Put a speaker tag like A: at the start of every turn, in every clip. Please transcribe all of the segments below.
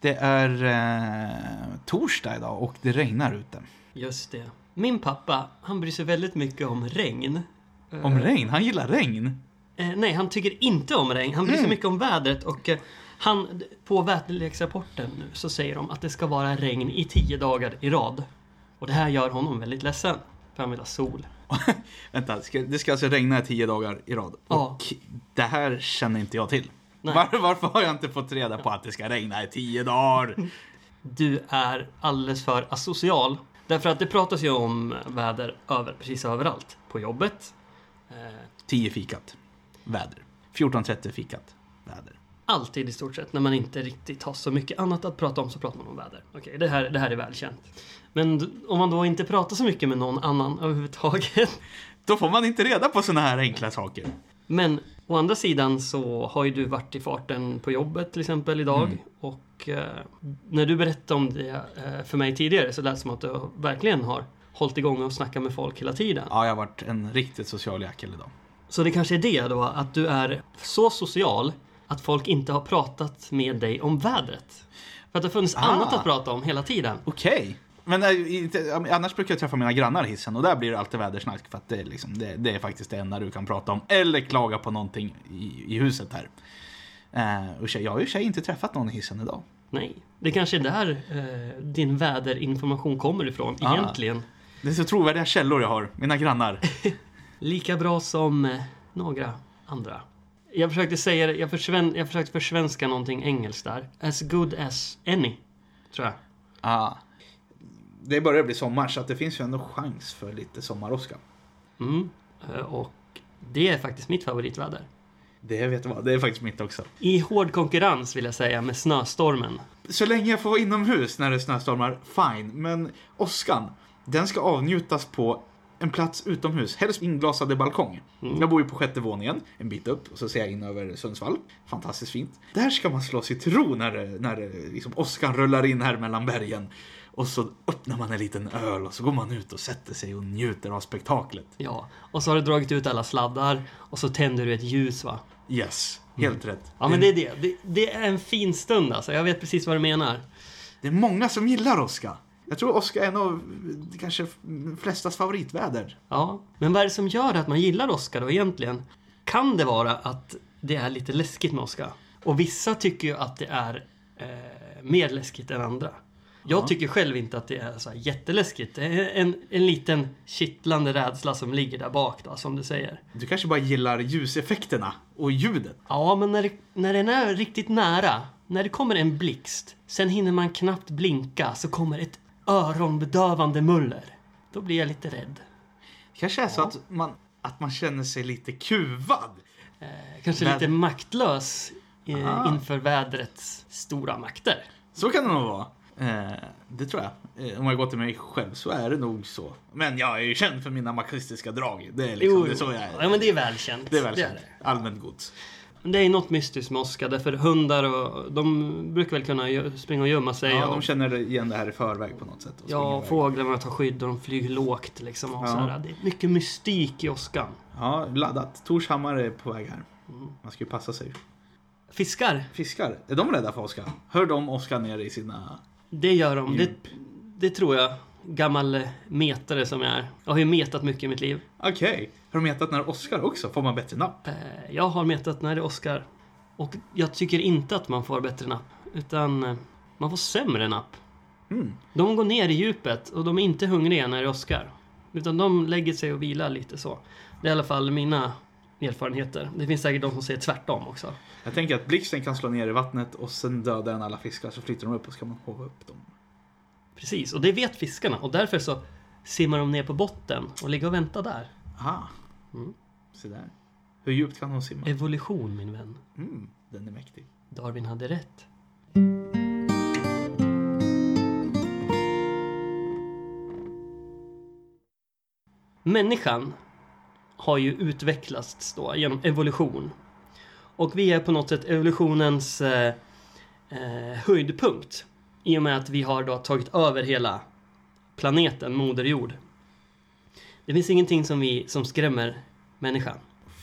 A: Det är eh, torsdag idag och det regnar ute.
B: Just det. Min pappa, han bryr sig väldigt mycket om regn. Eh,
A: Om regn? Han gillar regn?
B: Eh, nej, han tycker inte om regn. Han bryr sig mycket om vädret och eh, han, d- på väderleksrapporten nu så säger de att det ska vara regn i tio dagar i rad. Och det här gör honom väldigt ledsen. För han vill ha sol.
A: Vänta, det ska, det ska alltså regna i tio dagar i rad.
B: Ja.
A: Och det här känner inte jag till.
B: Nej.
A: Var, varför har jag inte fått reda på att det ska regna i tio dagar?
B: Du är alldeles för asocial. Därför att det pratas ju om väder över, precis överallt. På jobbet. Eh,
A: 10 fikat. Väder. 14.30 fikat. Väder.
B: Alltid i stort sett, när man inte riktigt har så mycket annat att prata om så pratar man om väder. Okej, det, här, det här är välkänt. Men d- om man då inte pratar så mycket med någon annan överhuvudtaget.
A: Då får man inte reda på såna här enkla saker.
B: Men å andra sidan så har ju du varit i farten på jobbet till exempel idag. Och eh, när du berättade om det eh, för mig tidigare så lät det som att du verkligen har hållit igång och snackat med folk hela tiden.
A: Ja, jag har varit en riktigt social jäkel idag.
B: Så det kanske är det då, att du är så social att folk inte har pratat med dig om vädret. För att det har funnits annat att prata om hela tiden.
A: Okej. Men eh, inte- annars brukar jag träffa mina grannar i hissen och där blir det alltid vädersnack för att det är, liksom, det, det är faktiskt det enda du kan prata om. Eller klaga på någonting i, i huset här. Eh, och tjej, jag har ju i och för sig inte träffat någon i hissen idag.
B: Nej, det kanske är där eh, din väderinformation kommer ifrån
A: Ah.
B: egentligen.
A: Det är så trovärdiga källor jag har, mina grannar.
B: Lika bra som eh, några andra. Jag försökte säga det, jag, försven, jag försökte försvenska någonting engelskt där. As good as any, tror jag.
A: Ah. Det börjar bli sommar så att det finns ju ändå chans för lite sommaråska.
B: Mm. Eh, och det är faktiskt mitt favoritväder.
A: Det vet du vad, det är faktiskt mitt också.
B: I hård konkurrens vill jag säga med snöstormen.
A: Så länge jag får vara inomhus när det är snöstormar, fine. Men åskan, den ska avnjutas på en plats utomhus, helst inglasade balkong.
B: Mm.
A: Jag bor ju på sjätte våningen, en bit upp, och så ser jag in över Sundsvall. Fantastiskt fint. Där ska man slå sig till ro när, det- när det liksom åskan rullar in här mellan bergen. Och så öppnar man en liten öl och så går man ut och sätter sig och njuter av spektaklet.
B: Ja, och så har du dragit ut alla sladdar och så tänder du ett ljus va?
A: Yes, helt rätt.
B: Mm. Ja men det är det. det. Det är en fin stund alltså. Jag vet precis vad du menar.
A: Det är många som gillar åska. Jag tror åska är en av eh, kanske flestas favoritväder.
B: Ja, men vad är det som gör att man gillar Oscar då egentligen? Kan det vara att det är lite läskigt med Oscar? Och vissa tycker ju att det är eh, mer läskigt än andra. Jag tycker själv inte att det är så här jätteläskigt. Det är en, en liten kittlande rädsla som ligger där bak då, som du säger.
A: Du kanske bara gillar ljuseffekterna och ljudet.
B: Ja, men när, det, när den är riktigt nära, när det kommer en blixt, sen hinner man knappt blinka så kommer ett öronbedövande muller. Då blir jag lite rädd.
A: Det kanske är så att man, att man känner sig lite kuvad.
B: Eh, kanske
A: Men-
B: lite maktlös eh,
A: Ah.
B: inför vädrets stora makter.
A: Så kan det nog vara. Eh, det tror jag. Eh, om jag går till mig själv så är det nog så. Men jag är ju känd för mina marxistiska drag. Det är liksom det är så jag är.
B: Ja, men det är välkänt.
A: det är väl känt.
B: det.
A: Allmänt gods.
B: Men det är något mystiskt med Oskar, därför hundar och, de brukar väl kunna gö- springa och gömma sig.
A: Ja,
B: och,
A: de känner igen det här i förväg på något sätt. och springer
B: ja
A: iväg.
B: fåglarna tar skydd och de flyger lågt liksom. Och
A: Ja.
B: sådär. Det är mycket mystik i åskan.
A: ja, laddat. Torshammar är på väg här. Man ska ju passa sig.
B: Fiskar,
A: Fiskar, är de rädda för åska? Hör de åska ner i sina...
B: det gör
A: Mm.
B: de. Det, det tror jag. Gammal eh, metare som jag är. Jag har ju metat mycket i mitt liv.
A: Okej. Har de hetat när åskar också? Får man bättre napp?
B: Eh, Jag har metat när det är Oscar. Och jag tycker inte att man får bättre napp. Utan eh, man får sämre napp.
A: Mm.
B: De går ner i djupet och de är inte hungriga när det är Oscar. Utan de lägger sig och vilar lite så. Det är i alla fall mina erfarenheter. Det finns säkert de som säger tvärtom också.
A: Jag tänker att blixten kan slå ner i vattnet och sen dödar den alla fiskar så flyter de upp och så kan man hova upp dem.
B: Precis, och det vet fiskarna. Och därför så simmar de ner på botten och ligger och väntar där.
A: Aha.
B: Mm.
A: Se där. Hur djupt kan de simma?
B: Evolution min vän.
A: Mm, den är mäktig.
B: Darwin hade rätt. Människan har ju utvecklats då genom evolution. Och vi är på något sätt evolutionens eh, eh, höjdpunkt. I och med att vi har då tagit över hela planeten, Moder Jord. Det finns ingenting som, vi, som skrämmer människan.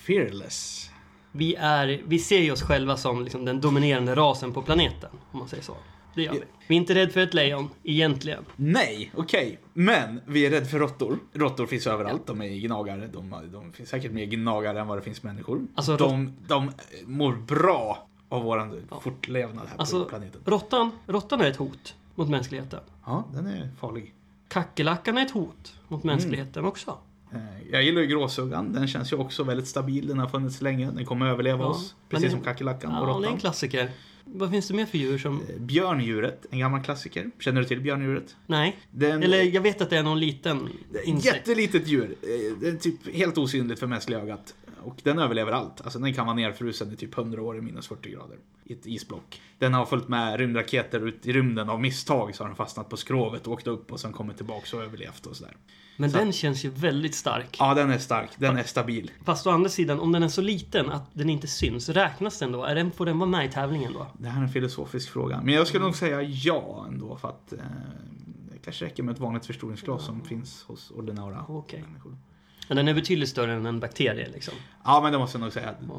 A: Fearless.
B: Vi, är, vi ser ju oss själva som liksom den dominerande rasen på planeten, om man säger så. det gör vi. Vi är inte rädda för ett lejon, egentligen.
A: Nej, okej. Men vi är rädda för råttor. Råttor finns överallt. De är gnagare. De, de finns säkert mer gnagare än vad det finns människor.
B: Alltså,
A: de, de mår bra av vår fortlevnad här på
B: Alltså,
A: planeten.
B: råttan, råttan är ett hot mot mänskligheten.
A: Ja, den är farlig.
B: Kackerlackan är ett hot mot mänskligheten också.
A: Eh, Jag gillar ju gråsuggan. Den känns ju också väldigt stabil. Den har funnits länge. Den kommer överleva
B: Ja,
A: oss.
B: men
A: Precis
B: det-
A: som kackerlackan och
B: Ja, det är en
A: råttan.
B: klassiker. Vad finns det mer för djur som...
A: Eh, Björndjuret, en gammal klassiker. Känner du till björndjuret?
B: Nej.
A: Den-
B: Eller jag vet att det är någon liten insekt.
A: Jättelitet djur. Eh, Det är typ helt osynligt för mänskliga ögat. Och den överlever allt. Alltså den kan vara nerfrusen i typ 100 år i minus 40 grader. I ett isblock. Den har följt med rymdraketer ut i rymden av misstag så har den fastnat på skrovet och åkt upp och sen kommit tillbaks och överlevt och sådär.
B: Men den känns ju väldigt stark.
A: Ja, den är stark. Den är stabil.
B: Fast å andra sidan, om den är så liten att den inte syns, räknas den då? Är den, får den vara med i tävlingen då?
A: Det här är en filosofisk fråga. Men jag skulle nog säga ja ändå för att eh, det kanske räcker med ett vanligt förstoringsglas som finns hos ordinära
B: Okej.
A: människor.
B: Men den är betydligt större än en bakterie liksom.
A: Ja, men det måste jag nog säga. att Den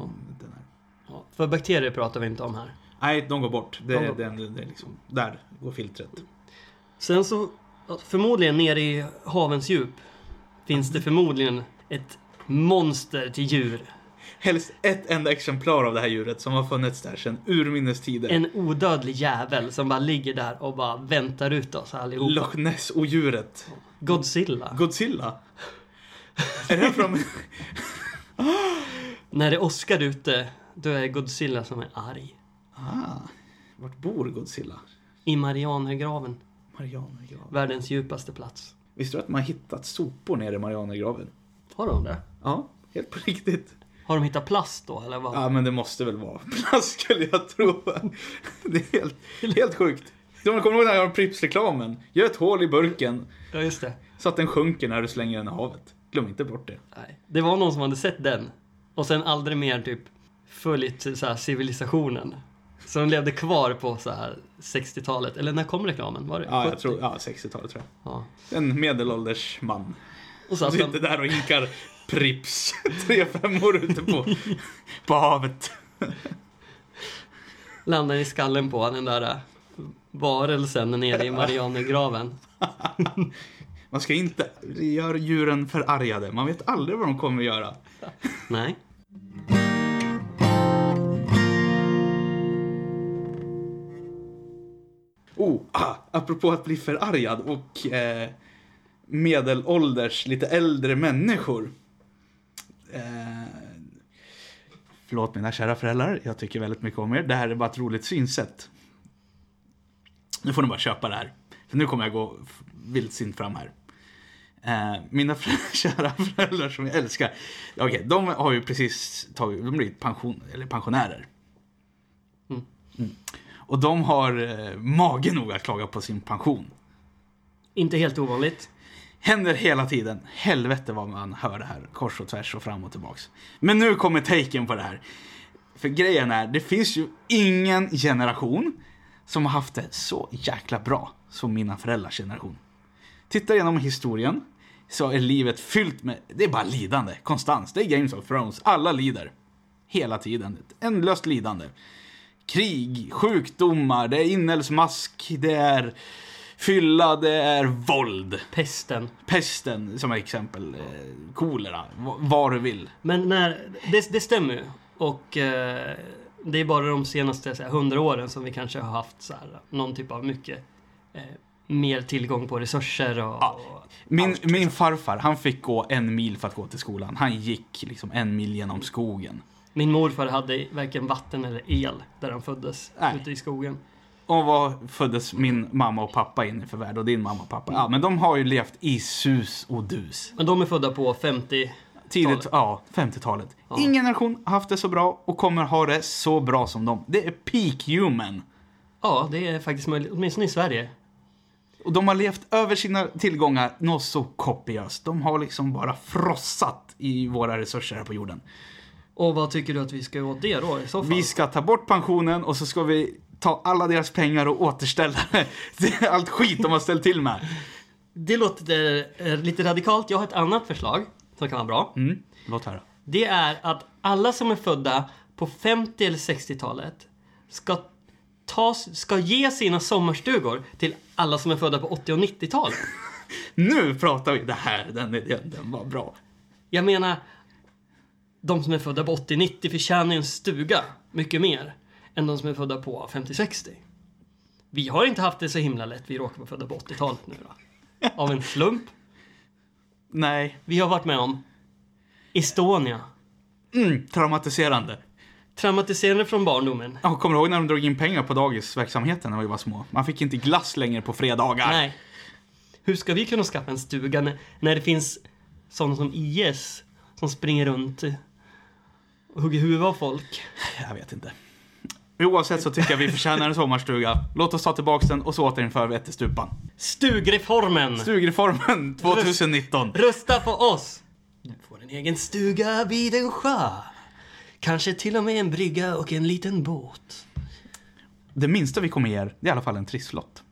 A: är.
B: Ja, för bakterier pratar vi inte om här.
A: Nej, de går bort. Det,
B: De går
A: Den, den, den liksom, där går filtret.
B: Sen så, ja, förmodligen nere i havens djup finns det förmodligen ett monster till djur.
A: Helst ett enda exemplar av det här djuret som har funnits där sedan urminnes tider.
B: En odödlig jävel som bara ligger där och bara väntar ut oss allihopa.
A: Loch Ness-odjuret.
B: Godzilla.
A: Godzilla. är det här från...
B: När det åskar ute, då är det Godzilla som är arg.
A: ah, vart bor Godzilla?
B: I Marianergraven,
A: Marianergraven.
B: världens djupaste plats.
A: Visste du att man har hittat sopor nere i Marianergraven?
B: Har de det?
A: Ja, helt på riktigt.
B: Har de hittat plast då eller vad?
A: Ja, men det måste väl vara plast skulle jag tro. Det är helt, helt sjukt. De kommer ihåg den här Pripps-reklamen? Gör ett hål i burken
B: Ja, just det.
A: så att den sjunker när du slänger den i havet. Glöm inte bort det.
B: Nej. Det var någon som hade sett den och sen aldrig mer typ följt så här, civilisationen. Så de levde kvar på så här 60-talet, eller när kom reklamen? Var det
A: Ja, jag
B: 70?
A: tror, ja 60-talet tror jag. Alltså-
B: Ja.
A: En medelålders man.
B: Och så
A: Han
B: att han,
A: sitter där och hinkar Prips tre femmor ute på, på havet.
B: landar i skallen på den där äh, varelsen nere i Marianergraven.
A: Man ska inte göra djuren förargade. Man vet aldrig vad de kommer att göra.
B: Nej.
A: Oh, ah, apropå att bli förargad och eh, medelålders, lite äldre människor. Eh, förlåt mina kära föräldrar, jag tycker väldigt mycket om er. Det här är bara ett roligt synsätt. Nu får ni bara köpa det här. För nu kommer jag gå f- vildsint fram här. Eh, mina för- kära föräldrar som jag älskar. Okej, de har ju precis tagit, de blivit pension, eller pensionärer. Och de har eh, mage nog att klaga på sin pension.
B: Inte helt ovanligt.
A: Händer hela tiden. Helvete vad man hör det här. Kors och tvärs och fram och tillbaks. Men nu kommer taken på det här. För grejen är, det finns ju ingen generation som har haft det så jäkla bra som mina föräldrars generation. Titta igenom historien så är livet fyllt med, det är bara lidande, konstant. Det är Games of Thrones, alla lider. Hela tiden, ett ändlöst lidande. Krig, sjukdomar, det är inälvsmask, det är fylla, det är våld
B: Pesten.
A: pesten som exempel, eh, kolera, v- vad du vill.
B: Men när, det, det stämmer ju. Och eh, det är bara de senaste så här, 100 åren som vi kanske har haft så här, någon typ av mycket eh, mer tillgång på resurser och... och
A: Min,
B: allt.
A: min farfar, han fick gå en mil för att gå till skolan. Han gick liksom en mil genom skogen.
B: Min morfar hade varken vatten eller el där han föddes,
A: Nej.
B: ute i skogen.
A: Och vad föddes min mamma och pappa in i för värld och din mamma och pappa? Ja, men de har ju levt i sus och dus.
B: Men de är födda på 50...
A: Tidigt, ja, 50-talet. Ingen generation har haft det så bra och kommer ha det så bra som dem. Det är peak human.
B: Ja, det är faktiskt möjligt. Åtminstone i Sverige.
A: Och de har levt över sina tillgångar något så kopiöst. De har liksom bara frossat i våra resurser här på jorden.
B: Och vad tycker du att vi ska göra åt det då i så fall?
A: Vi ska ta bort pensionen och så ska vi ta alla deras pengar och återställa det. Det är allt skit de har ställt till med.
B: Det låter eh, lite radikalt. Jag har ett annat förslag som kan vara bra.
A: Mm. Låt höra.
B: Det är att alla som är födda på 50 eller 60-talet ska ta, ska ge sina sommarstugor till alla som är födda på 80 och 90-talet.
A: Nu pratar vi! Det här, den idén, den var bra.
B: Jag menar, de som är födda på 80-90 förtjänar ju en stuga mycket mer än de som är födda på 50-60. Vi har inte haft det så himla lätt, vi råkar vara födda på 80-talet nu då. Av en slump.
A: Nej,
B: Vi har varit med om Estonia.
A: mm, traumatiserande.
B: Traumatiserande från barndomen.
A: Jag kommer du ihåg när de drog in pengar på dagisverksamheten när vi var små? Man fick inte glass längre på fredagar.
B: Nej. Hur ska vi kunna skaffa en stuga när, när det finns sådana som IS som springer runt och hugger huvudet av folk?
A: Jag vet inte. Oavsett så tycker jag vi förtjänar en sommarstuga. Låt oss ta tillbaks den och så återinför vi ättestupan.
B: Stugreformen!
A: Stugreformen 2019.
B: Rösta på oss! Du får en egen stuga vid en sjö. Kanske till och med en brygga och en liten båt.
A: Det minsta vi kommer ge er, det är i alla fall en trisslott.